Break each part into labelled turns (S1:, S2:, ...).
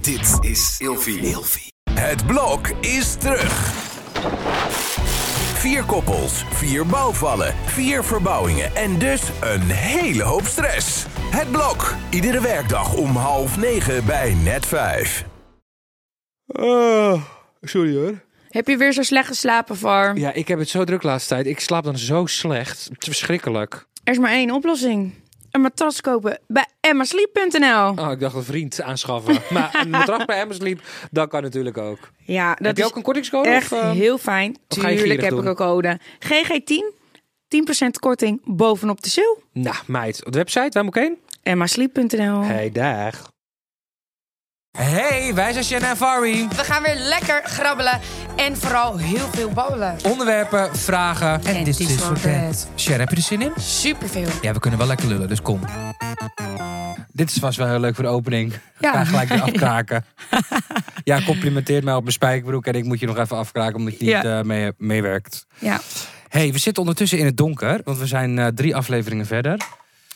S1: Dit is Ilfi. Het blok is terug. Vier koppels, vier bouwvallen, vier verbouwingen en dus een hele hoop stress. Het blok, iedere werkdag om half negen bij net vijf.
S2: Ah, sorry hoor.
S3: Heb je weer zo slecht geslapen, Var?
S4: Ja, ik heb het zo druk de laatste tijd. Ik slaap dan zo slecht. Het is verschrikkelijk.
S3: Er is maar één oplossing. Een matras kopen bij emmasleep.nl.
S4: Oh, ik dacht een vriend aanschaffen. maar een matras bij Amazon dat kan natuurlijk ook.
S3: Ja, dat
S4: heb je
S3: is
S4: ook een kortingscode?
S3: echt
S4: of, eh,
S3: heel fijn.
S4: of ga je
S3: Tuurlijk
S4: gierig
S3: heb ik
S4: doen?
S3: een code. GG10, 10% korting bovenop de sale.
S4: Nou, meid. Op de website, waar moet ik heen?
S3: emmasleep.nl.
S4: Hey, dag. Hey, wij zijn Shanna en Fari.
S5: We gaan weer lekker grabbelen en vooral heel veel babbelen.
S4: Onderwerpen, vragen.
S5: En dit is voor het.
S4: dus Shanna, heb je er zin in?
S5: Superveel.
S4: Ja, we kunnen wel lekker lullen, dus kom. Dit is vast wel heel leuk voor de opening. Ja. Ga gelijk weer afkraken. ja, complimenteert mij op mijn spijkerbroek en ik moet je nog even afkraken omdat je
S3: Ja.
S4: niet eh, mee, meewerkt.
S3: Ja.
S4: hey, we zitten ondertussen in het donker, want we zijn eh, drie afleveringen verder.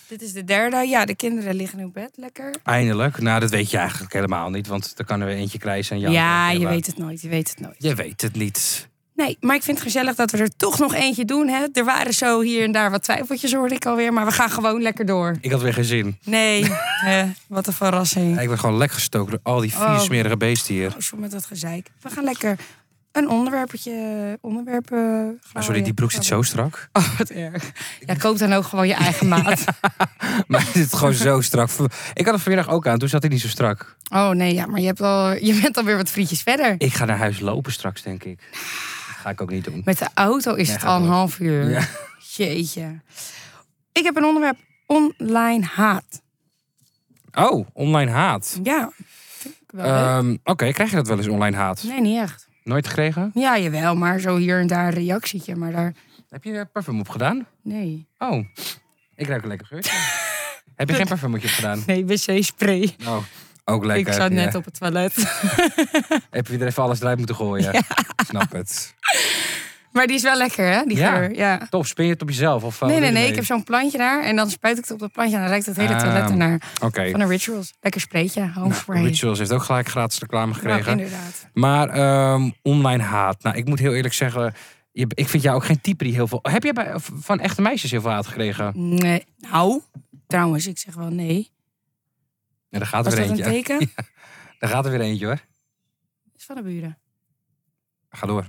S5: Dit is de derde. Ja, de kinderen liggen nu op bed. Lekker.
S4: Eindelijk. Nou, dat weet je eigenlijk helemaal niet, want er kan er weer eentje krijsen en
S5: Ja,
S4: jou.
S5: je weet het nooit. Je weet het nooit.
S4: eh, Je weet het niet.
S5: Nee, maar ik vind het gezellig dat we er toch nog eentje doen. Hè? Er waren zo hier en daar wat twijfeltjes, hoorde ik alweer. Maar we gaan gewoon lekker door.
S4: Ik had weer geen zin.
S5: Nee, hè, wat een verrassing.
S4: Ik ben gewoon lek gestoken door al die vier
S5: Oh.
S4: smerige beesten hier.
S5: Zo met dat gezeik. We gaan lekker een onderwerpertje, onderwerpen...
S4: Maar
S5: graaien.
S4: Ah, sorry, die broek zit zo strak.
S5: Oh, wat erg. Ja, koop dan ook gewoon je eigen maat.
S4: Maar het zit gewoon zo strak. Ik had het vanmiddag ook aan, toen zat hij niet zo strak.
S5: Oh nee, ja, maar je, hebt al, je bent alweer wat frietjes verder.
S4: Ik ga naar huis lopen straks, denk ik.
S5: Ah.
S4: Dat ga ik ook niet doen.
S5: Met de auto is
S4: Nee,
S5: het
S4: gaat
S5: al een
S4: door.
S5: half uur.
S4: Ja.
S5: Jeetje. Ik heb een onderwerp online haat.
S4: Oh, online haat.
S5: Ja. vind ik wel leuk.
S4: Ehm, Oké, krijg je dat wel eens online haat?
S5: Nee, niet echt.
S4: Nooit gekregen?
S5: Ja, jawel, maar zo hier en daar een reactietje. Maar daar,
S4: Heb je er parfum op gedaan?
S5: nee.
S4: Oh, ik ruik een lekker geurtje. Heb je geen parfumetje op gedaan?
S5: Nee, wc-spray.
S4: Oh, ook lekker.
S5: Ik zat net
S4: Ja.
S5: op het toilet.
S4: Heb je er even alles eruit moeten gooien? Snap het.
S5: Maar die is wel lekker, hè, die
S4: Ja. Oh,
S5: geur. Ja.
S4: Top, spin je het op jezelf? Of, eh, wat
S5: Nee, nee,
S4: doe je
S5: nee.
S4: ermee?
S5: Ik heb zo'n plantje daar. En dan spuit ik het op dat plantje. En dan ruikt het hele
S4: Ah.
S5: toilet ernaar.
S4: Oké. Nou,
S5: Van de Rituals. Lekker spraytje. Home spray.
S4: Rituals heeft ook gelijk gratis reclame
S5: Nou,
S4: gekregen.
S5: inderdaad.
S4: Maar ehm, online haat. Nou, ik moet heel eerlijk zeggen, je- ik vind jou ook geen type die heel veel. Heb jij bij, van echte meisjes heel veel haat gekregen?
S5: Nee. Nou, trouwens, ik zeg wel nee.
S4: Ja, daar gaat er
S5: Was
S4: weer
S5: dat een
S4: eentje.
S5: teken?
S4: Daar gaat er weer eentje hoor.
S5: Is van de buren.
S4: Ga door.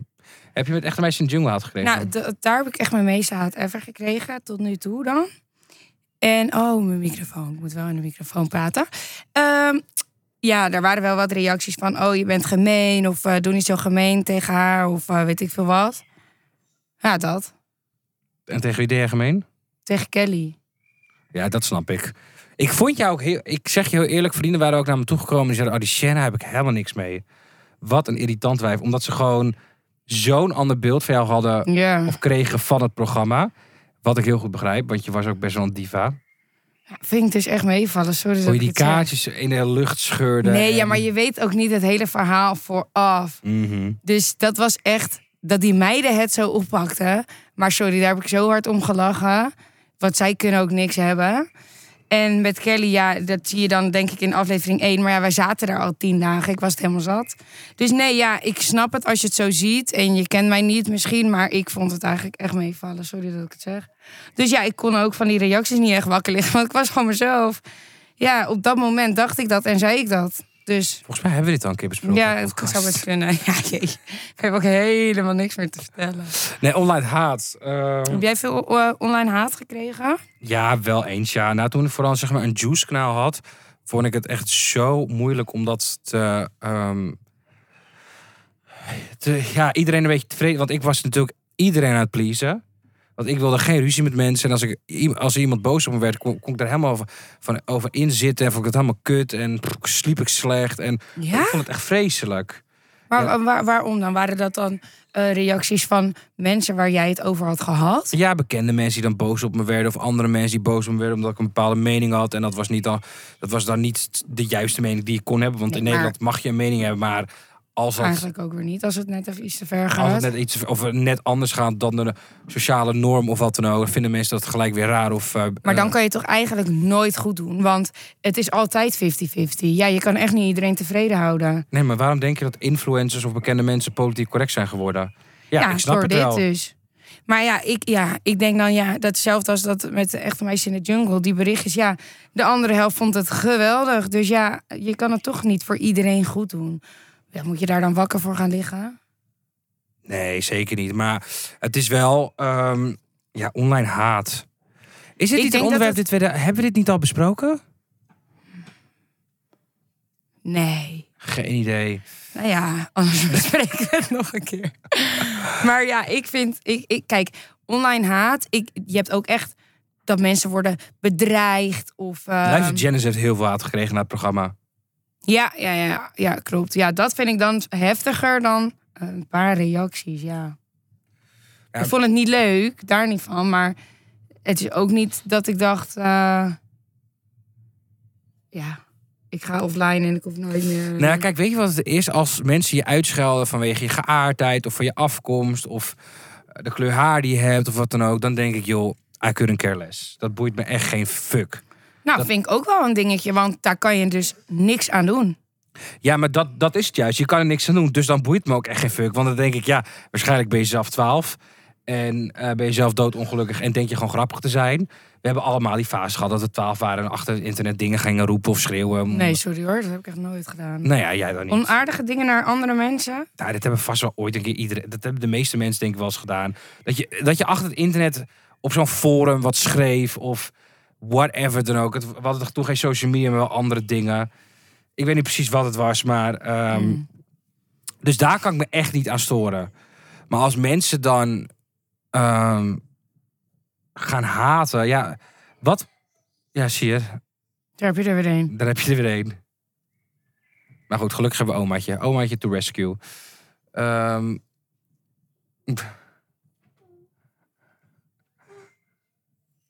S4: Heb je met echte meisjes een jungle haat gekregen?
S5: Nou, d- daar heb ik echt mijn meeste haat ever gekregen. Tot nu toe dan. En, oh, mijn microfoon. Ik moet wel in de microfoon praten. Ehm, ja, daar waren wel wat reacties van... Oh, je bent gemeen. Of eh, doe niet zo gemeen tegen haar. Of eh, weet ik veel wat. Ja, dat.
S4: En tegen wie deed jij gemeen?
S5: Tegen Kelly.
S4: Ja, dat snap ik. Ik vond jou ook heel. Ik zeg je heel eerlijk, vrienden waren ook naar me toegekomen en zeiden: Oh, die Shanna heb ik helemaal niks mee. Wat een irritant wijf. Omdat ze gewoon zo'n ander beeld van jou hadden
S5: Ja.
S4: of kregen van het programma. Wat ik heel goed begrijp, want je was ook best wel een diva.
S5: Ja, Vind ik dus echt meevallen. Sorry dat
S4: Hoe je
S5: ik
S4: die
S5: het zeg.
S4: kaartjes in de lucht scheurde.
S5: Nee, ja,
S4: en-
S5: maar je weet ook niet het hele verhaal vooraf.
S4: Mhm.
S5: Dus dat was echt dat die meiden het zo oppakten. Maar sorry, daar heb ik zo hard om gelachen. Want zij kunnen ook niks hebben. En met Kelly, ja, dat zie je dan denk ik in aflevering 1. Maar ja, wij zaten daar al tien dagen. Ik was het helemaal zat. Dus nee, ja, ik snap het als je het zo ziet. En je kent mij niet misschien, maar ik vond het eigenlijk echt meevallen. Sorry dat ik het zeg. Dus ja, ik kon ook van die reacties niet echt wakker liggen. Want ik was gewoon mezelf. Ja, op dat moment dacht ik dat en zei ik dat. Dus
S4: Volgens mij hebben we dit al een keer besproken.
S5: ja,
S4: in de
S5: het
S4: podcast.
S5: zou best kunnen. Ja, jee. Ik heb ook helemaal niks meer te vertellen.
S4: Nee, online haat. eh,
S5: Heb jij veel eh, online haat gekregen?
S4: Ja, wel eens ja. Nou, toen ik vooral zeg maar een juice-kanaal had, vond ik het echt zo moeilijk om dat te, ehm, te- Ja, iedereen een beetje tevreden. Want ik was natuurlijk iedereen aan het pleasen. Want ik wilde geen ruzie met mensen. En als, ik, i- als er iemand boos op me werd, kon, kon ik daar helemaal over, van, over inzitten. En vond ik het helemaal kut. En pff, sliep ik slecht. En ik
S5: Ja?
S4: vond het echt vreselijk.
S5: Maar wa- waar- waarom dan? Waren dat dan eh, reacties van mensen waar jij het over had gehad?
S4: Ja, bekende mensen die dan boos op me werden. Of andere mensen die boos op me werden omdat ik een bepaalde mening had. En dat was, niet dan, dat was dan niet de juiste mening die ik kon hebben. Want
S5: Nee,
S4: in
S5: maar-
S4: Nederland mag je een mening hebben. Maar Als dat,
S5: Eigenlijk ook weer niet, als het net even iets te ver
S4: als het
S5: gaat.
S4: net iets of net anders gaat dan de sociale norm of wat dan ook, vinden mensen dat gelijk weer raar. Of, eh,
S5: Maar dan
S4: eh,
S5: kan je het toch eigenlijk nooit goed doen. Want het is altijd 50-50. Ja, je kan echt niet iedereen tevreden houden.
S4: Nee, maar waarom denk je dat influencers of bekende mensen politiek correct zijn geworden? Ja, ik snap
S5: door
S4: het
S5: dit
S4: wel.
S5: dus. Maar ja ik, ja, ik denk dan ja, datzelfde als dat met de echte meisje in de jungle. Die berichtjes, ja, de andere helft vond het geweldig. Dus ja, je kan het toch niet voor iedereen goed doen. Ja, moet je daar dan wakker voor gaan liggen?
S4: Nee, zeker niet. Maar het is wel ehm, ja, online haat. Is dit
S5: Ik
S4: niet een
S5: denk dat
S4: onderwerp?
S5: het-
S4: Dit we, hebben we dit niet al besproken?
S5: Nee.
S4: Geen idee.
S5: Nou ja, anders bespreken we het nog een keer. Maar ja, ik vind, ik, ik, kijk, online haat. Ik, je hebt ook echt dat mensen worden bedreigd of. ehm, Mhm.
S4: Live Janice heeft heel veel haat gekregen na het programma.
S5: ja, ja, ja, ja, klopt. Ja, dat vind ik dan heftiger dan een paar reacties. Ja.
S4: Ja.
S5: Ik vond het niet leuk, daar niet van. Maar het is ook niet dat ik dacht, eh, ja, ik ga offline en ik hoef nooit meer.
S4: Nou, ja, kijk, weet je wat het is? Als mensen je uitschelden vanwege je geaardheid of van je afkomst of eh, de kleur haar die je hebt of wat dan ook, dan denk ik, joh, I couldn't care less. Dat boeit me echt geen fuck.
S5: nou, vind ik ook wel een dingetje, want daar kan je dus niks aan doen.
S4: Ja, maar dat, dat is het juist. Je kan er niks aan doen. Dus dan boeit me ook echt geen fuck. Want dan denk ik, ja, waarschijnlijk ben je zelf 12. En eh, ben je zelf doodongelukkig en denk je gewoon grappig te zijn. We hebben allemaal die fase gehad dat we 12 waren en achter het internet dingen gingen roepen of schreeuwen.
S5: Nee, sorry hoor, dat heb ik echt nooit gedaan.
S4: Nou ja, jij dan niet.
S5: Onaardige dingen naar andere mensen?
S4: Nou, dat hebben vast wel ooit een keer iedereen. Dat hebben de meeste mensen denk ik wel eens gedaan. Dat je, dat je achter het internet op zo'n forum wat schreef of whatever dan ook. Het, we hadden toch toen geen social media, maar wel andere dingen. Ik weet niet precies wat het was, maar. ehm, Dus daar kan ik me echt niet aan storen. Maar als mensen dan ehm, gaan haten, ja, wat. Ja, zie je,
S5: Daar heb je er weer een.
S4: daar heb je er weer één. Maar goed, gelukkig hebben we omaatje. Omaatje to rescue. Ehm,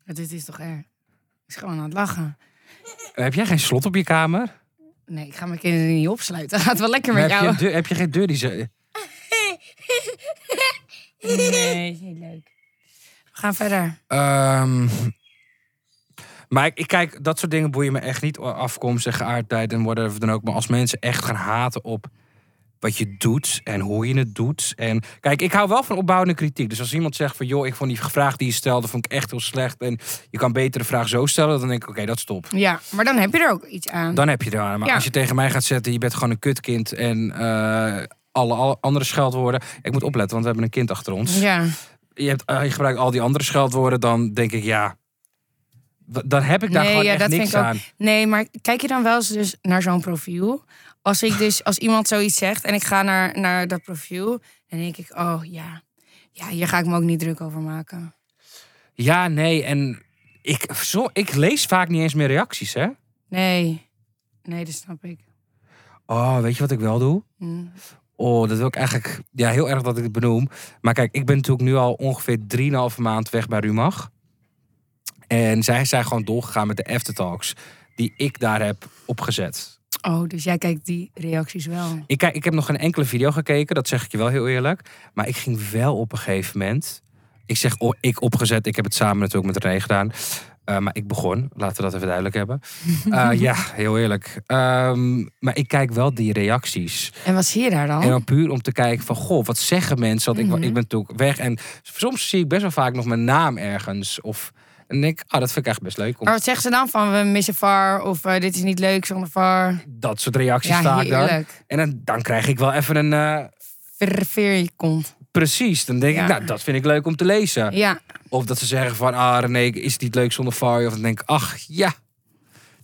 S5: Ja, dit is toch erg. Ik is gewoon aan het lachen.
S4: heb jij geen slot op je kamer?
S5: Nee, ik ga mijn kinderen niet opsluiten. Gaat wel lekker
S4: Maar
S5: met
S4: heb, je
S5: jou.
S4: een deur- heb je geen deur die ze...
S5: Nee, is niet leuk. We gaan verder.
S4: Ehm, maar ik, ik kijk, dat soort dingen boeien me echt niet. Afkomst en geaardheid en whatever dan ook. Maar als mensen echt gaan haten op wat je doet en hoe je het doet. En kijk, ik hou wel van opbouwende kritiek. Dus als iemand zegt van, joh, ik vond die vraag die je stelde, vond ik echt heel slecht. En je kan betere vraag zo stellen. Dan denk ik, oké, dat stop.
S5: Ja, maar dan heb je er ook iets aan.
S4: Dan heb je eraan. Maar
S5: Ja.
S4: als je tegen mij gaat zetten, je bent gewoon een kutkind en eh, alle, alle andere scheldwoorden. Ik moet opletten, want we hebben een kind achter ons.
S5: Ja,
S4: Je, hebt, eh, je gebruikt al die andere scheldwoorden, dan denk ik ja. w- Dan heb ik daar
S5: Nee,
S4: gewoon
S5: ja,
S4: echt
S5: dat
S4: niks
S5: vind ik ook-
S4: aan.
S5: nee, maar kijk je dan wel eens dus naar zo'n profiel? Als ik dus, als iemand zoiets zegt en ik ga naar, naar dat profiel, dan denk ik, oh ja. Ja, hier ga ik me ook niet druk over maken.
S4: Ja, nee. En ik, zo, ik lees vaak niet eens meer reacties, hè?
S5: Nee, nee, dat snap ik.
S4: Oh, weet je wat ik wel doe?
S5: Hm.
S4: Oh, dat wil ik eigenlijk. Ja, heel erg dat ik het benoem. Maar kijk, ik ben natuurlijk nu al ongeveer 3,5 maand weg bij Rumach. En zij zijn gewoon doorgegaan met de aftertalks die ik daar heb opgezet.
S5: Oh, dus jij kijkt die reacties wel.
S4: Ik, kijk, ik heb nog geen enkele video gekeken, dat zeg ik je wel heel eerlijk. Maar ik ging wel op een gegeven moment. Ik zeg oh, ik opgezet, ik heb het samen natuurlijk met René gedaan. Eh, maar ik begon, laten we dat even duidelijk hebben. Eh, ja, heel eerlijk. Ehm, maar ik kijk wel die reacties.
S5: En wat zie je daar dan?
S4: En dan puur om te kijken van, goh, wat zeggen mensen? Want
S5: Mhm.
S4: ik, ik ben natuurlijk weg. En soms zie ik best wel vaak nog mijn naam ergens. Of, en denk ik, ah, dat vind ik echt best leuk. Om
S5: Maar wat zeggen ze dan van we missen VAR of eh, dit is niet leuk zonder VAR?
S4: dat soort reacties
S5: Ja,
S4: vaak dan.
S5: heerlijk.
S4: En dan, dan krijg ik wel even een... eh,
S5: Verveer je kont.
S4: precies, dan denk
S5: Ja.
S4: ik, nou, dat vind ik leuk om te lezen.
S5: Ja,
S4: Of dat ze zeggen van, ah, René, is het niet leuk zonder VAR? Of dan denk ik, ach, ja,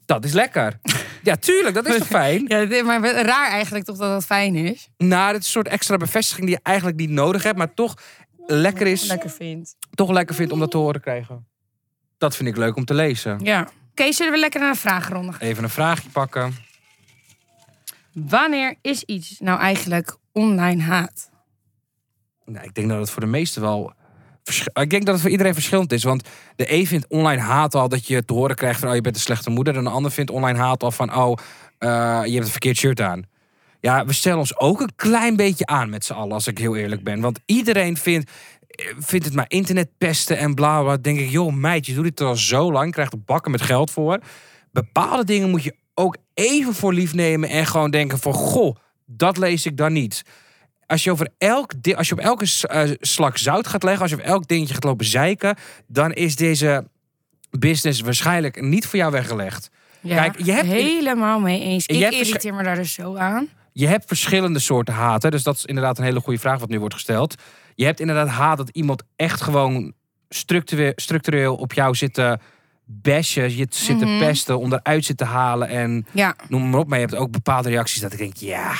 S4: dat is lekker. ja, tuurlijk, dat is toch fijn?
S5: ja dit- maar wat raar eigenlijk toch dat dat fijn is.
S4: Nou, dit is een soort extra bevestiging die je eigenlijk niet nodig hebt. Maar toch lekker is,
S5: Lekker vindt.
S4: toch lekker vindt om dat te horen krijgen. Dat vind ik leuk om te lezen.
S5: Ja. Oké, zullen we lekker naar de vragenronde gaan?
S4: Even een vraagje pakken.
S5: Wanneer is iets nou eigenlijk online haat?
S4: Nou, ik denk dat het voor de meesten wel. versch- Ik denk dat het voor iedereen verschillend is. Want de een vindt online haat al dat je te horen krijgt van oh, je bent een slechte moeder. En de ander vindt online haat al van oh, eh, je hebt een verkeerd shirt aan. Ja, we stellen ons ook een klein beetje aan met z'n allen, als ik heel eerlijk ben. Want iedereen vindt, eh, vindt het maar internetpesten en bla bla. Denk ik, joh, meid, je doet dit er al zo lang, krijgt er bakken met geld voor. Bepaalde dingen moet je ook even voor lief nemen en gewoon denken van, goh, dat lees ik dan niet. Als je, over elk, di- als je op elke s- eh, slak zout gaat leggen, als je op elk dingetje gaat lopen zeiken, dan is deze business waarschijnlijk niet voor jou weggelegd.
S5: Ja,
S4: Kijk, je hebt in-
S5: helemaal mee eens.
S4: Je
S5: Ik
S4: hebt
S5: irriteer me daar dus zo aan.
S4: Je hebt verschillende soorten haat. Hè? Dus dat is inderdaad een hele goede vraag wat nu wordt gesteld. Je hebt inderdaad haat dat iemand echt gewoon structureel, structureel op jou zit te bashen. Je zit
S5: Mhm.
S4: te pesten, onderuit zit te halen en
S5: Ja,
S4: noem maar op. Maar je hebt ook bepaalde reacties dat ik denk, ja,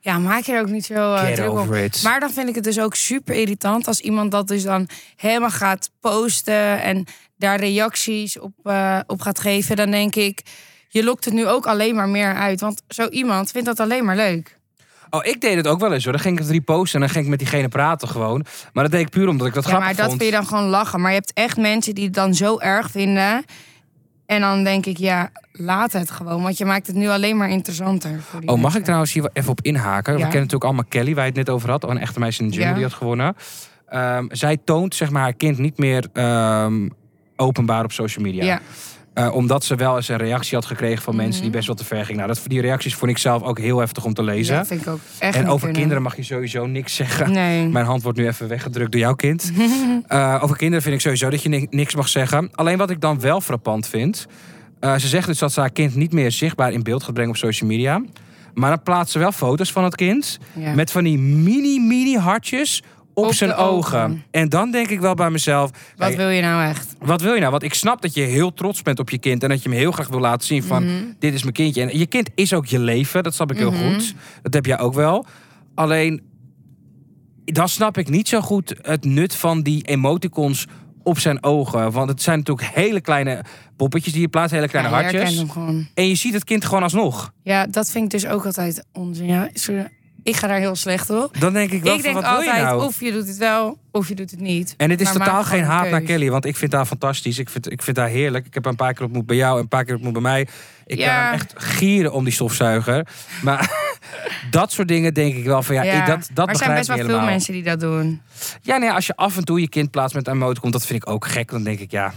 S5: ja maak je er ook niet zo eh,
S4: get
S5: druk om.
S4: over it.
S5: Maar dan vind ik het dus ook super irritant als iemand dat dus dan helemaal gaat posten en daar reacties op, eh, op gaat geven. Dan denk ik, je lokt het nu ook alleen maar meer uit. Want zo iemand vindt dat alleen maar leuk.
S4: Oh, ik deed het ook wel eens hoor. Dan ging ik het reposten en dan ging ik met diegene praten gewoon. Maar dat deed ik puur omdat ik dat
S5: Ja,
S4: grappig
S5: maar dat
S4: vond.
S5: vind je dan gewoon lachen. Maar je hebt echt mensen die het dan zo erg vinden. En dan denk ik, ja, laat het gewoon. Want je maakt het nu alleen maar interessanter. Voor die
S4: Oh, mag
S5: mensen.
S4: ik trouwens hier wel even op inhaken? We
S5: Ja.
S4: kennen natuurlijk allemaal Kelly, waar je het net over had. Oh, Een echte meisje in de jungle
S5: Ja.
S4: die had gewonnen. Ehm, zij toont zeg maar, haar kind niet meer ehm, openbaar op social media.
S5: Ja. Mhm.
S4: Eh, omdat ze wel eens een reactie had gekregen van mensen die best wel te ver gingen. Nou, dat, die reacties vond ik zelf ook heel heftig om te lezen.
S5: dat vind ik ook echt
S4: en
S5: niet
S4: over
S5: kunnen.
S4: kinderen mag je sowieso niks zeggen.
S5: Nee.
S4: Mijn hand wordt nu even weggedrukt door jouw kind. Eh, over kinderen vind ik sowieso dat je ni- niks mag zeggen. Alleen wat ik dan wel frappant vind. eh, ze zegt dus dat ze haar kind niet meer zichtbaar in beeld gaat brengen op social media. Maar dan plaatst ze wel foto's van het kind.
S5: Ja.
S4: Met van die mini, mini hartjes op,
S5: Op
S4: zijn
S5: de
S4: ogen.
S5: ogen.
S4: En dan denk ik wel bij mezelf.
S5: Wat
S4: kijk,
S5: wil je nou echt?
S4: wat wil je nou? Want ik snap dat je heel trots bent op je kind. En dat je hem heel graag wil laten zien van...
S5: Mhm.
S4: dit is mijn kindje. En je kind is ook je leven. Dat snap ik heel goed. Dat heb jij ook wel. Alleen, dan snap ik niet zo goed het nut van die emoticons op zijn ogen. Want het zijn natuurlijk hele kleine poppetjes die je plaatst. Hele kleine
S5: Ja, je herkent
S4: hartjes.
S5: hem gewoon.
S4: En je ziet het kind gewoon alsnog.
S5: Ja, dat vind ik dus ook altijd onzin. Ja, sorry. ik ga daar heel slecht op.
S4: Dan denk ik wel
S5: ik
S4: van,
S5: denk
S4: wat wil je
S5: altijd,
S4: nou?
S5: of je doet het wel, of je doet het niet.
S4: En het is
S5: Maar
S4: totaal
S5: maak
S4: geen
S5: gewoon een
S4: haat naar
S5: keus.
S4: Kelly, want ik vind haar fantastisch. Ik vind, ik vind haar heerlijk. Ik heb haar een paar keer ontmoet bij jou en een paar keer ontmoet bij mij. Ik
S5: Ja.
S4: kan hem echt gieren om die stofzuiger. Maar dat soort dingen denk ik wel van ja, ik- dat, dat
S5: maar er
S4: begrijp
S5: zijn best
S4: ik
S5: wel
S4: helemaal.
S5: veel mensen die dat doen.
S4: Ja, nee, als je af en toe je kind plaatst met een emoticon, dat vind ik ook gek. Dan denk ik ja,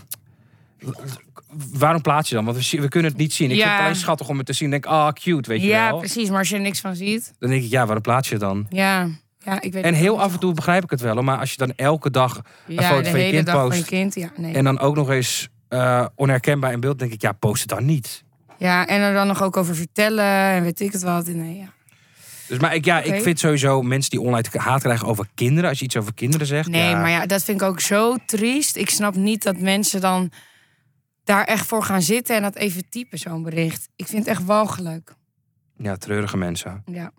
S4: waarom plaats je dan? Want we, zien- we kunnen het niet zien. Ik
S5: Ja.
S4: vind het alleen schattig om het te zien. Dan denk ik, ah, cute, weet je
S5: Ja,
S4: wel.
S5: precies. Maar als je er niks van ziet,
S4: Dan denk ik, ja, waarom plaats je het dan?
S5: ja. ja ik weet
S4: En
S5: het
S4: heel
S5: niet.
S4: af en toe begrijp ik het wel. hoor, Maar als je dan elke dag een
S5: ja,
S4: foto
S5: de
S4: van je
S5: hele
S4: kind
S5: dag
S4: post...
S5: van je kind. Ja, nee.
S4: En dan ook nog eens eh, onherkenbaar in beeld. Denk ik, ja, post het dan niet.
S5: ja, en er dan nog ook over vertellen en weet ik het wat. Nee, ja.
S4: Dus, maar ik, ja,
S5: Oké.
S4: ik vind sowieso mensen die online haat krijgen over kinderen. Als je iets over kinderen zegt.
S5: Nee,
S4: ja.
S5: maar ja, dat vind ik ook zo triest. Ik snap niet dat mensen dan daar echt voor gaan zitten en dat even typen, zo'n bericht. Ik vind het echt walgelijk.
S4: Ja, treurige mensen.
S5: Ja.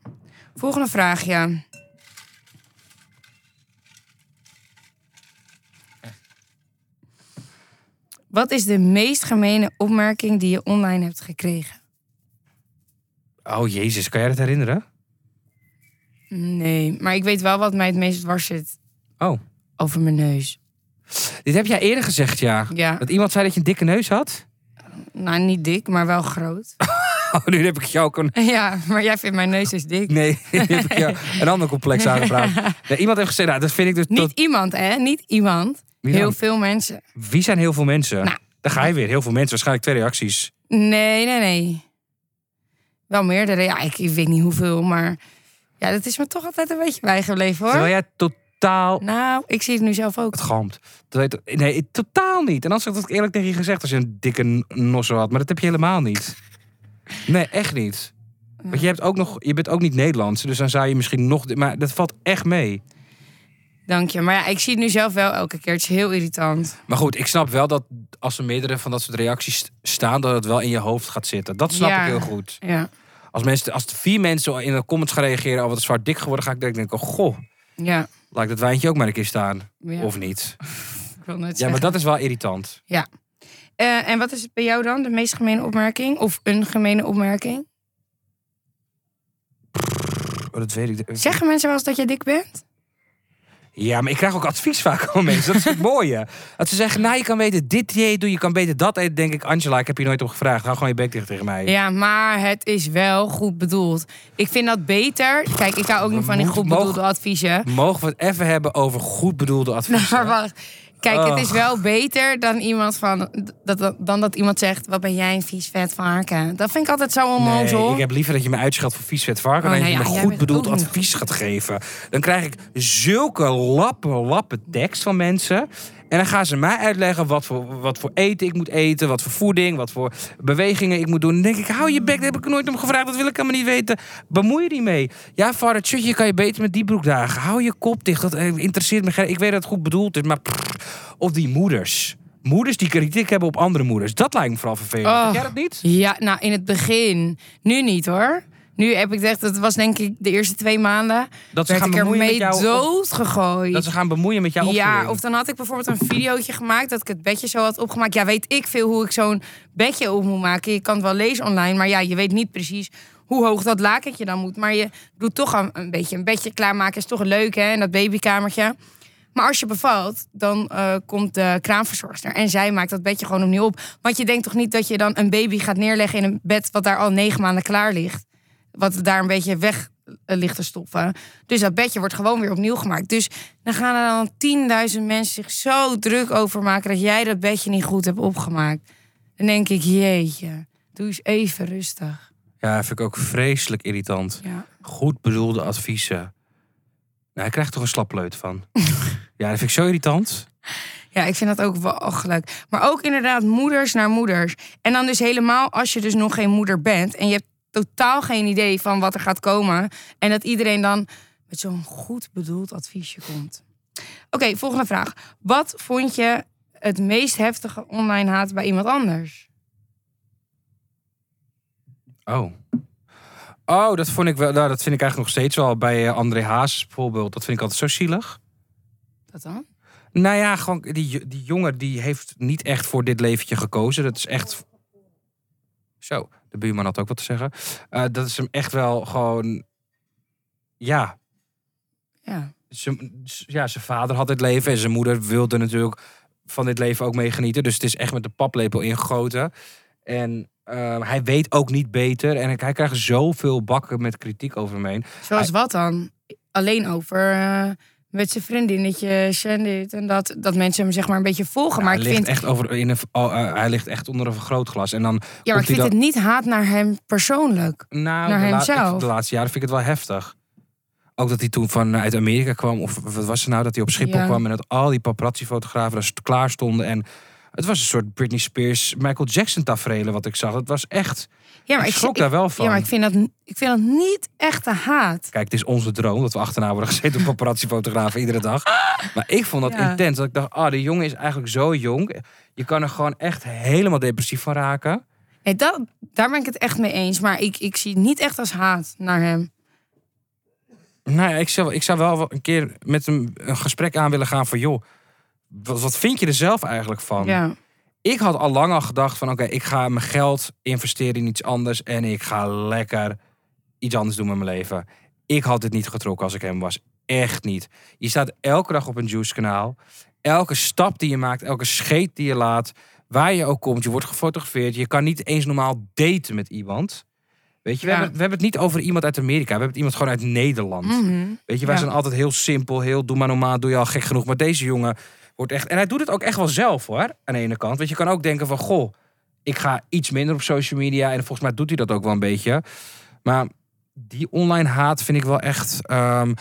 S5: Volgende vraagje. Wat is de meest gemene opmerking die je online hebt gekregen?
S4: Oh jezus, kan jij dat herinneren?
S5: Nee, maar ik weet wel wat mij het meest dwars zit.
S4: Oh,
S5: Over mijn neus.
S4: dit heb jij eerder gezegd, ja.
S5: Ja,
S4: Dat iemand zei dat je een dikke neus had?
S5: nou niet dik, maar wel groot.
S4: Oh, nu heb ik jou ook een...
S5: ja, maar jij vindt mijn neus is dik.
S4: Nee, nu heb ik jou een ander complex aangevraagd. Nee, iemand heeft gezegd, nou, dat vind ik dus...
S5: Niet
S4: tot-
S5: iemand, hè? Niet iemand.
S4: Wie dan?
S5: Heel veel mensen.
S4: Wie zijn heel veel mensen?
S5: Nou.
S4: Daar ga je weer, heel veel mensen. Waarschijnlijk twee reacties.
S5: Nee, nee, nee. Wel meerdere. Ja, ik, ik weet niet hoeveel, maar... Ja, dat is me toch altijd een beetje bijgebleven, hoor.
S4: Terwijl jij totaal
S5: Nou, ik zie het nu zelf ook.
S4: het galmt. Dat weet- Nee, ik- totaal niet. En dan had ik dat eerlijk tegen je gezegd als je een dikke n- nosso had. Maar dat heb je helemaal niet. Nee, echt niet. Want je, hebt ook nog, je bent ook niet Nederlands, dus dan zou je misschien nog... Maar dat valt echt mee.
S5: Dank je. Maar ja, ik zie het nu zelf wel elke keer. Het is heel irritant.
S4: Maar goed, ik snap wel dat als er meerdere van dat soort reacties st- staan... dat het wel in je hoofd gaat zitten. Dat snap
S5: Ja.
S4: ik heel goed.
S5: Ja.
S4: Als, mensen, als er vier mensen in de comments gaan reageren... over het zwart dik geworden, ga ik denken... oh, goh,
S5: Ja.
S4: laat ik dat wijntje ook maar een keer staan.
S5: ja.
S4: Of niet.
S5: ik wil net
S4: Ja, maar
S5: zeggen.
S4: dat is wel irritant.
S5: Eh, en wat is het bij jou dan? De meest gemene opmerking? Of een gemene opmerking?
S4: Oh, dat weet ik.
S5: Zeggen mensen wel eens dat jij dik bent?
S4: Ja, maar ik krijg ook advies vaak van mensen. Dat is het mooie. Dat ze zeggen, nou, je kan beter dit dieet doen, je kan beter dat eten. denk ik, Angela, ik heb je nooit op gevraagd. Hou gewoon je bek dicht tegen mij.
S5: Ja, maar het is wel goed bedoeld. Ik vind dat beter. Kijk, ik hou ook niet van die
S4: moeten
S5: goed
S4: mogen-
S5: bedoelde adviezen.
S4: Mogen we het even hebben over goed bedoelde adviezen?
S5: Maar wacht. Kijk, het is
S4: Oh.
S5: wel beter dan, iemand van, dat, dat- dan dat iemand zegt... wat ben jij een vies vet varken. Dat vind ik altijd zo
S4: Nee,
S5: onnozel.
S4: ik heb liever dat je me uitschat voor vies vet varken...
S5: Oh,
S4: dan
S5: nee,
S4: dat
S5: ja,
S4: je me
S5: jij
S4: goed
S5: bent
S4: bedoeld
S5: ook niet
S4: advies gaat geven. Dan krijg ik zulke lappen, lappen tekst van mensen... En dan gaan ze mij uitleggen wat voor, wat voor eten ik moet eten... wat voor voeding, wat voor bewegingen ik moet doen. Dan denk ik, hou je bek, daar heb ik nooit om gevraagd. Dat wil ik helemaal niet weten. Bemoei je niet mee. Ja, vader, het shirtje kan je beter met die broek dragen. Hou je kop dicht, dat eh, interesseert me. geen- Ik weet dat het goed bedoeld is, maar... prrr. of die moeders. Moeders die kritiek hebben op andere moeders. Dat lijkt me vooral vervelend.
S5: Oh.
S4: Heb jij dat niet?
S5: Ja, nou in het begin. Nu niet hoor. Nu heb ik echt, dat was denk ik de eerste twee maanden.
S4: Dat ze
S5: werd
S4: gaan
S5: ik
S4: bemoeien met jou
S5: ermee
S4: op-
S5: doodgegooid.
S4: Dat ze gaan bemoeien met jouw opvoeding.
S5: ja, of dan had ik bijvoorbeeld een videootje gemaakt dat ik het bedje zo had opgemaakt. Ja, weet ik veel hoe ik zo'n bedje op moet maken. Je kan het wel lezen online, maar ja, je weet niet precies hoe hoog dat lakentje dan moet. Maar je doet toch een, een beetje een bedje klaarmaken. Is toch leuk hè, en dat babykamertje. Maar als je bevalt, dan eh, komt de kraamverzorgster en zij maakt dat bedje gewoon opnieuw op. Want je denkt toch niet dat je dan een baby gaat neerleggen in een bed wat daar al negen maanden klaar ligt. Wat daar een beetje weg eh, ligt te stoppen. Dus dat bedje wordt gewoon weer opnieuw gemaakt. Dus dan gaan er dan 10.000 mensen zich zo druk over maken dat jij dat bedje niet goed hebt opgemaakt. Dan denk ik, jeetje, doe eens even rustig.
S4: Ja, vind ik ook vreselijk irritant.
S5: Ja.
S4: Goed bedoelde adviezen. Nou, hij krijgt toch een slappleut van. ja, dat vind ik zo irritant.
S5: Ja, ik vind dat ook walgelijk. Maar ook inderdaad moeders naar moeders. En dan dus helemaal als je dus nog geen moeder bent... en je hebt totaal geen idee van wat er gaat komen... en dat iedereen dan met zo'n goed bedoeld adviesje komt. Oké, volgende vraag. Wat vond je het meest heftige online haat bij iemand anders?
S4: Oh. Oh, dat vond ik wel. Nou, dat vind ik eigenlijk nog steeds wel. Bij eh, André Haas bijvoorbeeld. Dat vind ik altijd zo zielig.
S5: Dat dan?
S4: Nou ja, gewoon die, jo- die jongen die heeft niet echt voor dit leventje gekozen. Dat is echt. Zo, de buurman had ook wat te zeggen. Eh, dat is hem echt wel gewoon. Ja,
S5: Ja.
S4: zijn, ja, zijn vader had dit leven en zijn moeder wilde natuurlijk van dit leven ook mee genieten. Dus het is echt met de paplepel ingegoten. En eh, hij weet ook niet beter. En hij krijgt zoveel bakken met kritiek over hem heen.
S5: Zoals wat dan? Alleen over... eh, met zijn vriendinnetjes en dit en dat. Dat mensen hem zeg maar een beetje volgen.
S4: Ja,
S5: maar
S4: hij,
S5: ik
S4: ligt
S5: vind
S4: echt over, in een, oh, eh, hij ligt echt onder een vergrootglas. En dan,
S5: Ja, maar ik
S4: Komt
S5: vind
S4: hij
S5: het niet haat naar hem persoonlijk.
S4: nou,
S5: Naar
S4: de, la-
S5: hemzelf.
S4: ik- de laatste jaren vind ik het wel heftig. Ook dat hij toen vanuit Amerika kwam, of wat was het nou, dat hij op Schiphol
S5: Ja.
S4: kwam en dat al die paparazzi-fotografen daar st- klaar stonden. En het was een soort Britney Spears, Michael Jackson tafereelen wat ik zag. Het was echt.
S5: Ja, maar
S4: Ik
S5: ik,
S4: schrok daar wel van.
S5: Ja, maar ik vind dat, ik vind dat niet echte haat.
S4: Kijk, het is onze droom dat we achterna worden gezeten door paparazzi-fotografen iedere dag. Maar ik vond dat
S5: Ja.
S4: intens. Dat ik dacht, ah, die jongen is eigenlijk zo jong. Je kan er gewoon echt helemaal depressief van raken.
S5: Nee, dat, daar ben ik het echt mee eens. Maar ik, ik zie het niet echt als haat naar hem.
S4: Nou ja, ik zou, ik zou wel een keer met hem een gesprek aan willen gaan van... joh, wat, wat vind je er zelf eigenlijk van?
S5: Ja.
S4: Ik had al lang al gedacht van... oké, ik ga mijn geld investeren in iets anders... en ik ga lekker iets anders doen met mijn leven. Ik had dit niet getrokken als ik hem was. Echt niet. Je staat elke dag op een juice-kanaal. Elke stap die je maakt, elke scheet die je laat... waar je ook komt, je wordt gefotografeerd. Je kan niet eens normaal daten met iemand... Weet je, we,
S5: Ja.
S4: hebben, we hebben het niet over iemand uit Amerika. We hebben het iemand gewoon uit Nederland.
S5: Mhm.
S4: Weet je, wij
S5: Ja.
S4: zijn altijd heel simpel, heel doe maar normaal, doe je al gek genoeg. Maar deze jongen wordt echt... En hij doet het ook echt wel zelf hoor, aan de ene kant. Want je kan ook denken van, goh, ik ga iets minder op social media. En volgens mij doet hij dat ook wel een beetje. Maar die online haat vind ik wel echt... ehm,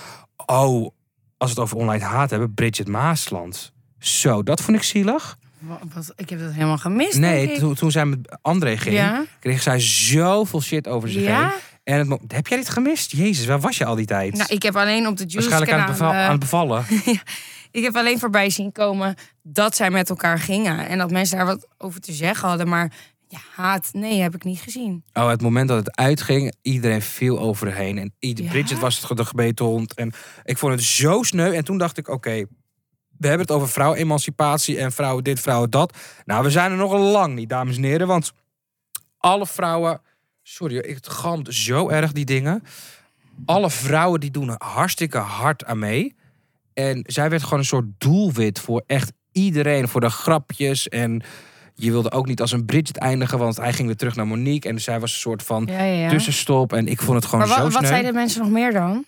S4: oh, als we het over online haat hebben, Bridget Maasland. Zo, dat vond ik zielig.
S5: Wa- Wat, ik heb dat helemaal gemist. denk
S4: Nee,
S5: ik.
S4: toen, toen zij met André ging,
S5: Ja?
S4: kreeg zij zoveel shit over zich heen.
S5: ja?
S4: En het, mo- heb jij dit gemist? Jezus, waar was je al die tijd?
S5: Nou, ik heb alleen op de
S4: Waarschijnlijk aan het, beva- aan
S5: Juice-kanaal...
S4: het bevallen.
S5: Ik heb alleen voorbij zien komen dat zij met elkaar gingen. En dat mensen daar wat over te zeggen hadden. Maar ja, haat, nee, heb ik niet gezien.
S4: Oh, het moment dat het uitging, iedereen viel overheen. En ieder,
S5: Ja?
S4: Bridget was het ge- de gebeten hond. En ik vond het zo sneu. En toen dacht ik, oké, we hebben het over vrouwenemancipatie en vrouwen dit, vrouwen dat. Nou, we zijn er nog lang niet, dames en heren. Want alle vrouwen... Sorry, hoor, het galmt zo erg, die dingen. Alle vrouwen die doen hartstikke hard aan mee. En zij werd gewoon een soort doelwit voor echt iedereen. Voor de grapjes. En je wilde ook niet als een Bridget eindigen. Want hij ging weer terug naar Monique. En zij was een soort van
S5: Ja, ja, ja.
S4: tussenstop. En ik vond het gewoon
S5: maar
S4: zo
S5: wat, wat
S4: sneu.
S5: zeiden mensen nog meer dan?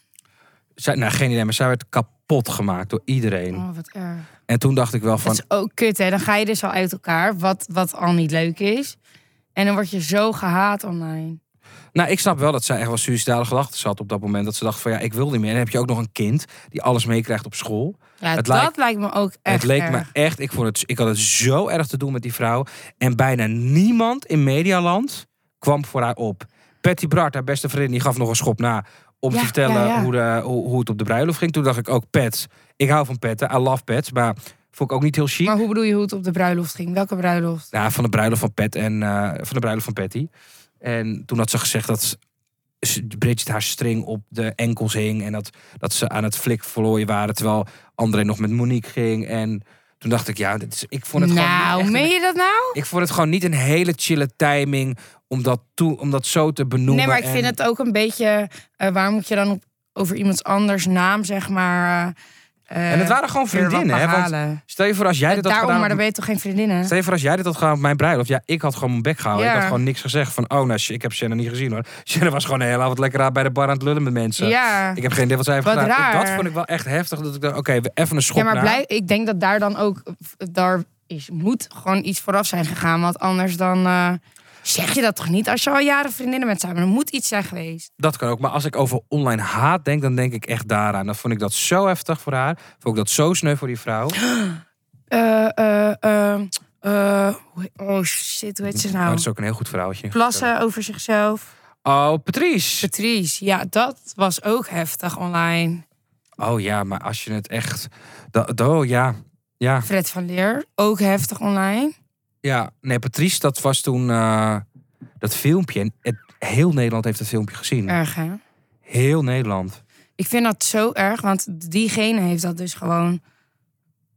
S4: Zij, nou, geen idee. Maar zij werd kapot gemaakt door iedereen.
S5: Oh, wat erg.
S4: En toen dacht ik wel
S5: Dat
S4: van...
S5: is ook kut, hè? Dan ga je dus al uit elkaar, wat, wat al niet leuk is. En dan word je zo gehaat online.
S4: Nou, ik snap wel dat zij echt wel suïcidale gedachten zat op dat moment. Dat ze dacht van ja, ik wil niet meer. En dan heb je ook nog een kind die alles meekrijgt op school.
S5: Ja,
S4: Het
S5: dat
S4: lijkt-
S5: lijkt, me ook echt
S4: het leek
S5: erg.
S4: me echt, ik, vond het, ik had het zo erg te doen met die vrouw. En bijna niemand in Medialand kwam voor haar op. Patty Bart, haar beste vriendin, die gaf nog een schop na. Om
S5: Ja,
S4: te vertellen
S5: ja, ja.
S4: Hoe, de, hoe, hoe het op de bruiloft ging. Toen dacht ik ook, pet. Ik hou van petten. I love pets. Maar vond ik ook niet heel chic.
S5: Maar hoe bedoel je hoe het op de bruiloft ging? Welke bruiloft?
S4: Ja, van de bruiloft van Pet en eh, van de bruiloft van Patty. En toen had ze gezegd dat ze- Bridget haar string op de enkels hing en dat, dat ze aan het flik verlooien waren terwijl André nog met Monique ging. En toen dacht ik, ja, dit is, ik vond het gewoon.
S5: nou,
S4: niet echt
S5: meen
S4: een-
S5: je dat nou?
S4: ik vond het gewoon niet een hele chille timing om dat, toe, om dat zo te benoemen.
S5: Nee, maar ik
S4: en-
S5: vind het ook een beetje... eh, waar moet je dan op, over iemands anders naam, zeg maar... eh,
S4: En het waren gewoon
S5: weer wat
S4: vriendinnen, hè? Want
S5: behalen?
S4: stel je voor als jij dit had
S5: Daarom,
S4: gedaan.
S5: maar
S4: op-
S5: dan ben je toch geen vriendinnen?
S4: Stel je voor als jij dit had gedaan op mijn bruiloft. Ja, ik had gewoon mijn bek gehouden. Ik
S5: Ja.
S4: had gewoon niks gezegd van, oh, nou, sh- ik heb Shannon niet gezien hoor. Shannon was gewoon de hele avond lekker aan bij de bar aan het lullen met mensen.
S5: Ja.
S4: Ik heb geen idee wat zij heeft
S5: Wat
S4: gedaan. Ik-
S5: raar.
S4: Dat vond ik wel echt heftig. Dat ik dacht, oké, we even een schop
S5: Ja, maar
S4: naar.
S5: blij, ik denk dat daar dan ook... Daar is, moet gewoon iets vooraf zijn gegaan. Want anders dan... eh, zeg je dat toch niet? Als je al jaren vriendinnen bent samen, er moet iets zijn geweest.
S4: Dat kan ook. Maar als ik over online haat denk, dan denk ik echt daaraan. Dan vond ik dat zo heftig voor haar. Vond ik dat zo sneu voor die vrouw.
S5: Eh, eh, eh, eh, hoe he- oh shit, hoe heet ze
S4: Maar
S5: nou?
S4: dat is ook een heel goed verhaaltje.
S5: Plassen over zichzelf.
S4: Oh, Patrice.
S5: Patrice, ja, dat was ook heftig online.
S4: Oh ja, maar als je het echt... Dat, oh ja. Ja.
S5: Fred van Leer, ook heftig online.
S4: Ja, nee, Patrice, dat was toen eh, dat filmpje. En het, heel Nederland heeft dat filmpje gezien.
S5: Erg, hè?
S4: Heel Nederland.
S5: Ik vind dat zo erg, want diegene heeft dat dus gewoon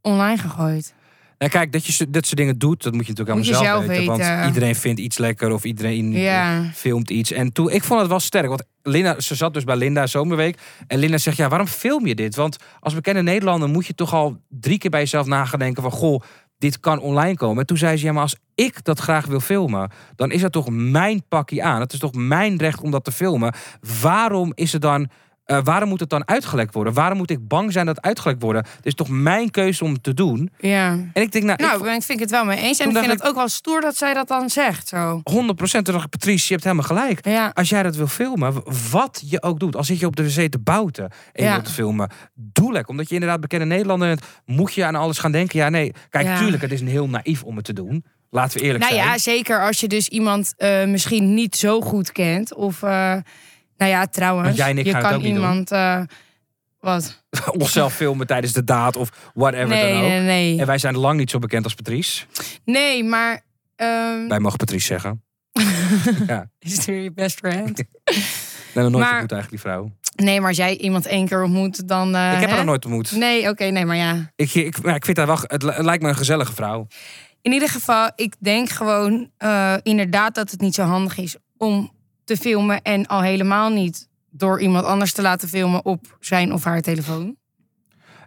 S5: online gegooid.
S4: En Nou, kijk, dat je zo- dat soort dingen doet, dat moet je natuurlijk
S5: Moet je
S4: allemaal zelf,
S5: zelf
S4: weten,
S5: weten.
S4: Want iedereen vindt iets lekker of iedereen eh,
S5: Ja.
S4: filmt iets. En toen, ik vond het wel sterk. Want Linda, ze zat dus bij Linda Zomerweek. En Linda zegt, ja, waarom film je dit? Want als bekende Nederlander moet je toch al drie keer bij jezelf nagedenken van... Goh, dit kan online komen. En toen zei ze, ja, maar als ik dat graag wil filmen... dan is dat toch mijn pakje aan. Het is toch mijn recht om dat te filmen. Waarom is het dan... eh, waarom moet het dan uitgelekt worden? Waarom moet ik bang zijn dat het uitgelekt wordt? Het is toch mijn keuze om het te doen?
S5: Ja.
S4: En ik denk, nou, ik
S5: Nou, ben ik vind ik het wel mee eens. En
S4: Toen
S5: ik vind
S4: dacht
S5: het ook wel stoer dat zij dat dan zegt, zo.
S4: 100 procent. Toen dacht ik, Patrice, je hebt helemaal gelijk.
S5: Ja.
S4: Als jij dat wil filmen, w- wat je ook doet, als zit je op de wc te bouten en je
S5: Ja.
S4: wilt filmen, doe lekker. Omdat je inderdaad bekende Nederlander bent, moet je aan alles gaan denken. Ja, nee, kijk,
S5: Ja.
S4: tuurlijk, het is een heel naïef om het te doen. Laten we eerlijk
S5: Nou
S4: zijn.
S5: ja, zeker als je dus iemand eh, misschien niet zo goed kent. Of, eh, nou ja, trouwens,
S4: Want jij en ik
S5: je
S4: gaan het
S5: kan
S4: ook niet doen.
S5: iemand... eh, wat?
S4: Onszelf filmen tijdens de daad of whatever
S5: nee,
S4: dan ook.
S5: nee, Hm. nee.
S4: En wij zijn lang niet zo bekend als Patrice.
S5: Nee, maar... ehm,
S4: Wij mogen Patrice zeggen.
S5: is het weer je best friend?
S4: We hebben nooit
S5: Maar-
S4: ontmoet eigenlijk, die vrouw.
S5: nee, maar als jij iemand één keer ontmoet, dan... eh,
S4: ik heb haar
S5: hè?
S4: nog nooit ontmoet.
S5: Nee, oké, nee, maar ja.
S4: Ik, ik, maar ik vind haar wel, het li- het lijkt me een gezellige vrouw.
S5: In ieder geval, ik denk gewoon eh, inderdaad dat het niet zo handig is om te filmen. En al helemaal niet door iemand anders te laten filmen op zijn of haar telefoon.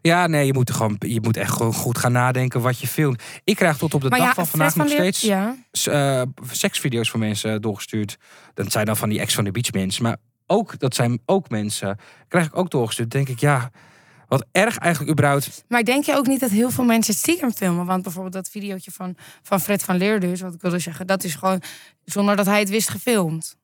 S4: Ja, nee, je moet, er gewoon, je moet echt gewoon goed gaan nadenken wat je filmt. Ik krijg tot op de
S5: maar
S4: dag
S5: ja,
S4: van
S5: Fred
S4: vandaag nog
S5: Leer-
S4: steeds
S5: Ja.
S4: s- eh, seksvideo's van mensen eh, doorgestuurd. Dat zijn dan van die ex van de beach mensen. Maar ook, dat zijn ook mensen. Krijg ik ook doorgestuurd. Denk ik, ja, wat erg eigenlijk überhaupt.
S5: Maar denk je ook niet dat heel veel mensen het stiekem filmen? Want bijvoorbeeld dat videootje van, van Fred van Leer dus, wat ik wilde zeggen, dat is gewoon zonder dat hij het wist gefilmd.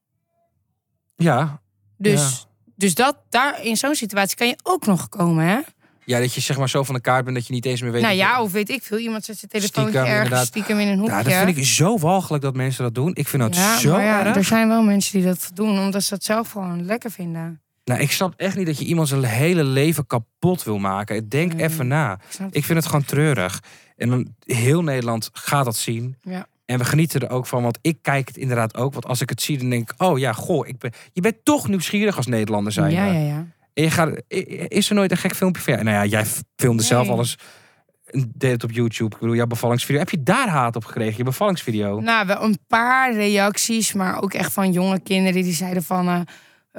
S4: Ja,
S5: Dus, dus dat, daar, in zo'n situatie kan je ook nog komen, hè?
S4: ja, dat je zeg maar zo van de kaart bent dat je niet eens meer weet.
S5: nou
S4: dat je-
S5: ja, of weet ik veel, iemand zet zijn telefoon
S4: Stiekem,
S5: ergens
S4: inderdaad.
S5: stiekem in een hoekje.
S4: ja, dat vind ik zo walgelijk dat mensen dat doen. Ik vind dat
S5: Ja,
S4: zo
S5: maar ja, dus-
S4: erg.
S5: er zijn wel mensen die dat doen, omdat ze dat zelf gewoon lekker vinden.
S4: Nou, ik snap echt niet dat je iemand zijn hele leven kapot wil maken. Denk
S5: Nee.
S4: even na.
S5: Ik snap het.
S4: Ik vind het gewoon treurig. En dan, heel Nederland gaat dat zien.
S5: Ja.
S4: En we genieten er ook van, want ik kijk het inderdaad ook. Want als ik het zie, dan denk ik, oh ja, goh, ik ben, je bent toch nieuwsgierig als Nederlander zijn.
S5: ja,
S4: we.
S5: ja, ja.
S4: En je gaat, i- i- is er nooit een gek filmpje van jou? Nou ja, jij f- filmde
S5: Nee.
S4: zelf alles, deed het op YouTube. Ik bedoel, jouw bevallingsvideo. Heb je daar haat op gekregen, je bevallingsvideo?
S5: Nou, wel een paar reacties, maar ook echt van jonge kinderen die zeiden van... eh,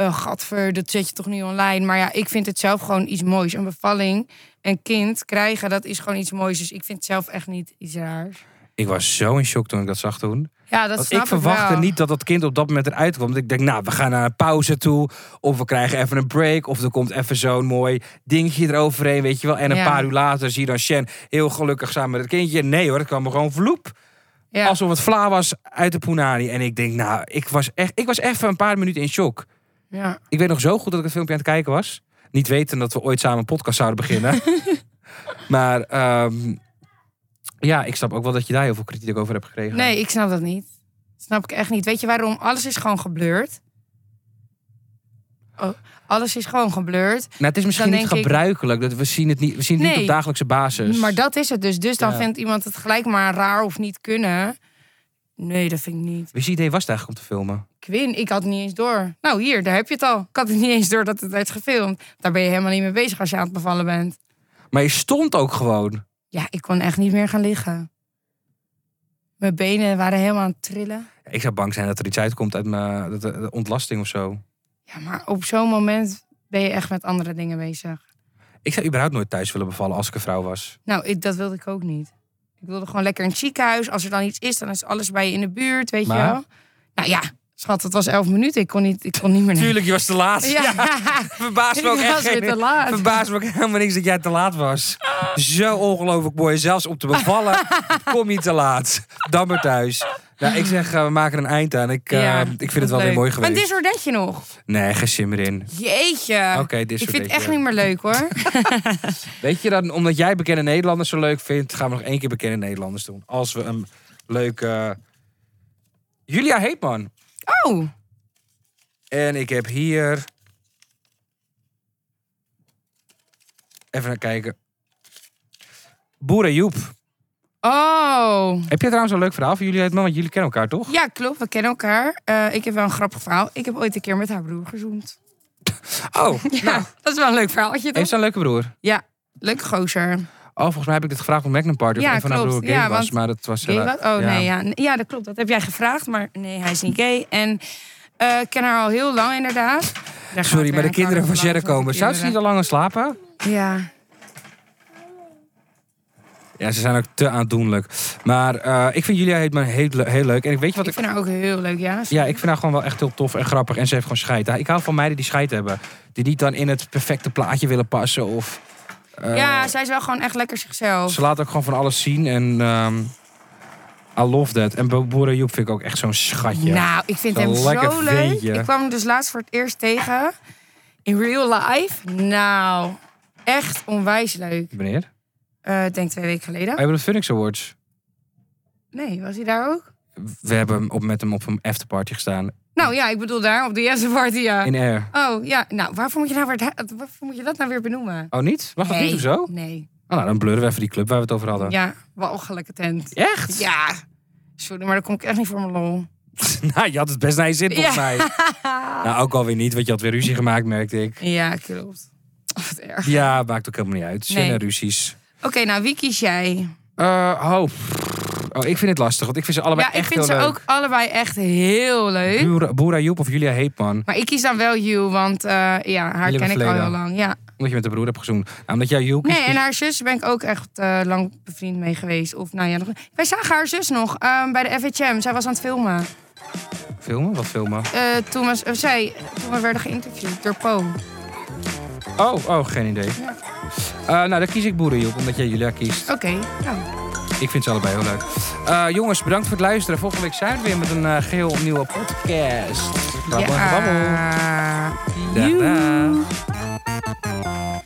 S5: eh gadver, dat zet je toch niet online. Maar ja, ik vind het zelf gewoon iets moois. Een bevalling, een kind krijgen, dat is gewoon iets moois. Dus ik vind het zelf echt niet iets raars.
S4: Ik was zo in shock toen ik dat zag toen.
S5: Ja, dat
S4: Want
S5: snap
S4: ik verwachtte
S5: wel.
S4: niet dat dat kind op dat moment eruit komt. Ik denk, nou, we gaan naar een pauze toe. Of we krijgen even een break. Of er komt even zo'n mooi dingetje eroverheen, weet je wel. En een
S5: Ja.
S4: paar uur later zie je dan Shen heel gelukkig samen met het kindje. Nee hoor, het kwam er gewoon vloep.
S5: Ja.
S4: Alsof het vla was uit de punani. En ik denk, nou, ik was echt, ik was even een paar minuten in shock.
S5: Ja.
S4: Ik weet nog zo goed dat ik het filmpje aan het kijken was. Niet weten dat we ooit samen een podcast zouden beginnen. maar ehm, ja, ik snap ook wel dat je daar heel veel kritiek over hebt gekregen.
S5: Nee, ik snap dat niet. Snap ik echt niet. Weet je waarom? Alles is gewoon geblurred. Oh, alles is gewoon geblurred.
S4: Nou, het is misschien
S5: Dan
S4: niet
S5: denk ik-
S4: gebruikelijk. Dat we zien het niet, we zien het niet
S5: Nee.
S4: op dagelijkse basis.
S5: Maar dat is het dus. Dus dan
S4: Ja.
S5: vindt iemand het gelijk maar raar of niet kunnen. Nee, dat vind ik niet.
S4: Wie idee was het eigenlijk om te filmen?
S5: Quinn, ik had het niet eens door. Nou, hier, daar heb je het al. Ik had het niet eens door dat het werd gefilmd. Daar ben je helemaal niet mee bezig als je aan het bevallen bent.
S4: Maar je stond ook gewoon.
S5: Ja, ik kon echt niet meer gaan liggen. Mijn benen waren helemaal aan het trillen.
S4: Ik zou bang zijn dat er iets uitkomt uit mijn dat- dat- dat ontlasting of zo.
S5: Ja, maar op zo'n moment ben je echt met andere dingen bezig.
S4: Ik zou überhaupt nooit thuis willen bevallen als ik een vrouw was.
S5: Nou, ik, dat wilde ik ook niet. Ik wilde gewoon lekker in het ziekenhuis. Als er dan iets is, dan is alles bij je in de buurt, weet je
S4: Maar?
S5: wel. Nou ja, schat, het was elf minuten. Ik kon niet, ik kon niet meer...
S4: je was te laat.
S5: Ja.
S4: Verbaas me ook
S5: Ik
S4: echt
S5: was weer
S4: geen-
S5: te laat.
S4: Verbaas me ook helemaal niks dat jij te laat was. Zo ongelooflijk mooi. Zelfs om te bevallen kom je te laat. Dan maar thuis. Nou, ik zeg, eh, we maken een eind aan. Ik, eh,
S5: Ja,
S4: ik vind het wel
S5: leuk.
S4: weer mooi
S5: Maar
S4: geweest.
S5: een disordentje nog.
S4: Nee, geen zin meer in.
S5: Jeetje.
S4: Oké, dit
S5: ik
S4: soort
S5: vind het
S4: dingen.
S5: echt niet meer leuk hoor.
S4: Weet je dan, omdat jij bekende Nederlanders zo leuk vindt, gaan we nog één keer bekende Nederlanders doen. Als we een leuke. eh, Julia Heetman.
S5: Oh,
S4: En ik heb hier. Even naar kijken. Boeren Joep.
S5: oh.
S4: Heb je trouwens een leuk verhaal van Julia Heetman? Want jullie kennen elkaar toch?
S5: Ja, klopt. We kennen elkaar. Eh, ik heb wel een grappig verhaal. Ik heb ooit een keer met haar broer gezoend.
S4: Oh,
S5: Ja, dat is wel een leuk verhaaltje toch?
S4: heeft ze een leuke broer?
S5: Ja, leuk gozer.
S4: Oh, volgens mij heb ik dit gevraagd op Magnum Party. Of
S5: Ja,
S4: een van haar
S5: klopt.
S4: broer gay
S5: Ja,
S4: was,
S5: want-
S4: maar dat was...
S5: Gay
S4: helaas-
S5: wat? Oh nee, ja. Nee, ja, dat klopt. Dat heb jij gevraagd, maar nee, hij is niet gay. En eh, ik ken haar al heel lang inderdaad. Daar gaat
S4: Sorry,
S5: weer
S4: maar de
S5: een
S4: kinderen van Jerry
S5: karneval langs, want
S4: komen.
S5: de
S4: Zou ze niet al
S5: kinderen-
S4: langer slapen?
S5: Ja.
S4: Ja, ze zijn ook te aandoenlijk. Maar eh, ik vind Julia Heetman heel, le- heel leuk. En ik weet je wat
S5: Ik
S4: ik...
S5: vind haar ook heel leuk, ja.
S4: Ja, ik vind haar gewoon wel echt heel tof en grappig. En ze heeft gewoon scheid. Ik hou van meiden die scheid hebben. Die niet dan in het perfecte plaatje willen passen. Of, eh,
S5: ja, zij is wel gewoon echt lekker zichzelf.
S4: Ze laat ook gewoon van alles zien. En ehm, I love that. En Bo- Boera Joep vind ik ook echt zo'n schatje.
S5: Nou, ik vind
S4: Zo'n
S5: hem
S4: lekker
S5: zo leuk.
S4: ventje.
S5: Ik kwam hem dus laatst voor het eerst tegen. In real life. Nou, echt onwijs leuk.
S4: Meneer?
S5: Eh, ik denk twee weken geleden.
S4: We hebben de Phoenix Awards.
S5: Nee, was hij daar ook?
S4: We hebben hem op, met hem op een afterparty gestaan.
S5: Nou ja, ik bedoel daar, op de eerste party, ja.
S4: In Air.
S5: Oh ja, nou, waarvoor moet je, nou weer, waarvoor moet je dat nou weer benoemen?
S4: Oh, niet? Mag dat
S5: nee.
S4: niet of zo?
S5: Nee.
S4: Oh, nou, dan blurren we even die club waar we het over hadden.
S5: Ja, walgelijke tent.
S4: Echt?
S5: Ja. Sorry, maar daar kom ik echt niet voor mijn lol.
S4: nou, je had het best naar je zin, volgens
S5: Ja.
S4: mij. Nou, ook alweer niet, want je had weer ruzie gemaakt, merkte ik.
S5: Ja, klopt. Wat erg.
S4: Ja, maakt ook helemaal niet uit. Zin
S5: Nee.
S4: en ruzies.
S5: Oké, nou, wie kies jij?
S4: Eh, oh. oh, ik vind het lastig, want ik vind ze allebei
S5: ja, ik
S4: echt
S5: vind ze
S4: heel
S5: ook allebei echt heel leuk.
S4: leuk. Boera- Boera Joep of Julia Heetman,
S5: Maar ik kies dan wel You, want eh, ja,
S4: hebben
S5: haar ken ik al
S4: verleden.
S5: heel lang. Ja.
S4: omdat je met de broer hebt gezoend. Nou, omdat jij Joep
S5: Nee, en haar zus ben ik ook echt eh, lang bevriend mee geweest. Of, nou ja, nog... Wij zagen haar zus nog ehm, bij de FHM. Zij was aan het filmen.
S4: Filmen? Wat filmen?
S5: Eh, toen, was, eh, zij, toen we werden geïnterviewd door Po. Oké,
S4: Oh, oh, geen idee. Eh, nou, dan kies ik Boera Joep, omdat jij Julia kiest.
S5: nou.
S4: Ik vind ze allebei heel leuk. Eh, jongens, bedankt voor het luisteren. Volgende week zijn we weer met een eh, geheel nieuwe podcast. Babbel, babbel.
S5: Ja.
S4: Dag, dag.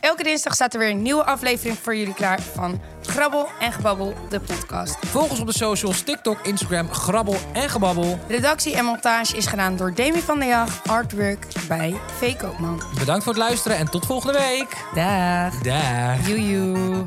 S5: Elke dinsdag staat er weer een nieuwe aflevering voor jullie klaar van Grabbel en Gebabbel, de podcast.
S4: Volg ons op de socials, TikTok, Instagram, Grabbel en Gebabbel.
S5: Redactie en montage is gedaan door Demi van der Jag, artwork bij V. Koopman.
S4: Bedankt voor het luisteren en tot volgende week.
S5: Dag.
S4: Dag.
S5: Joejoe.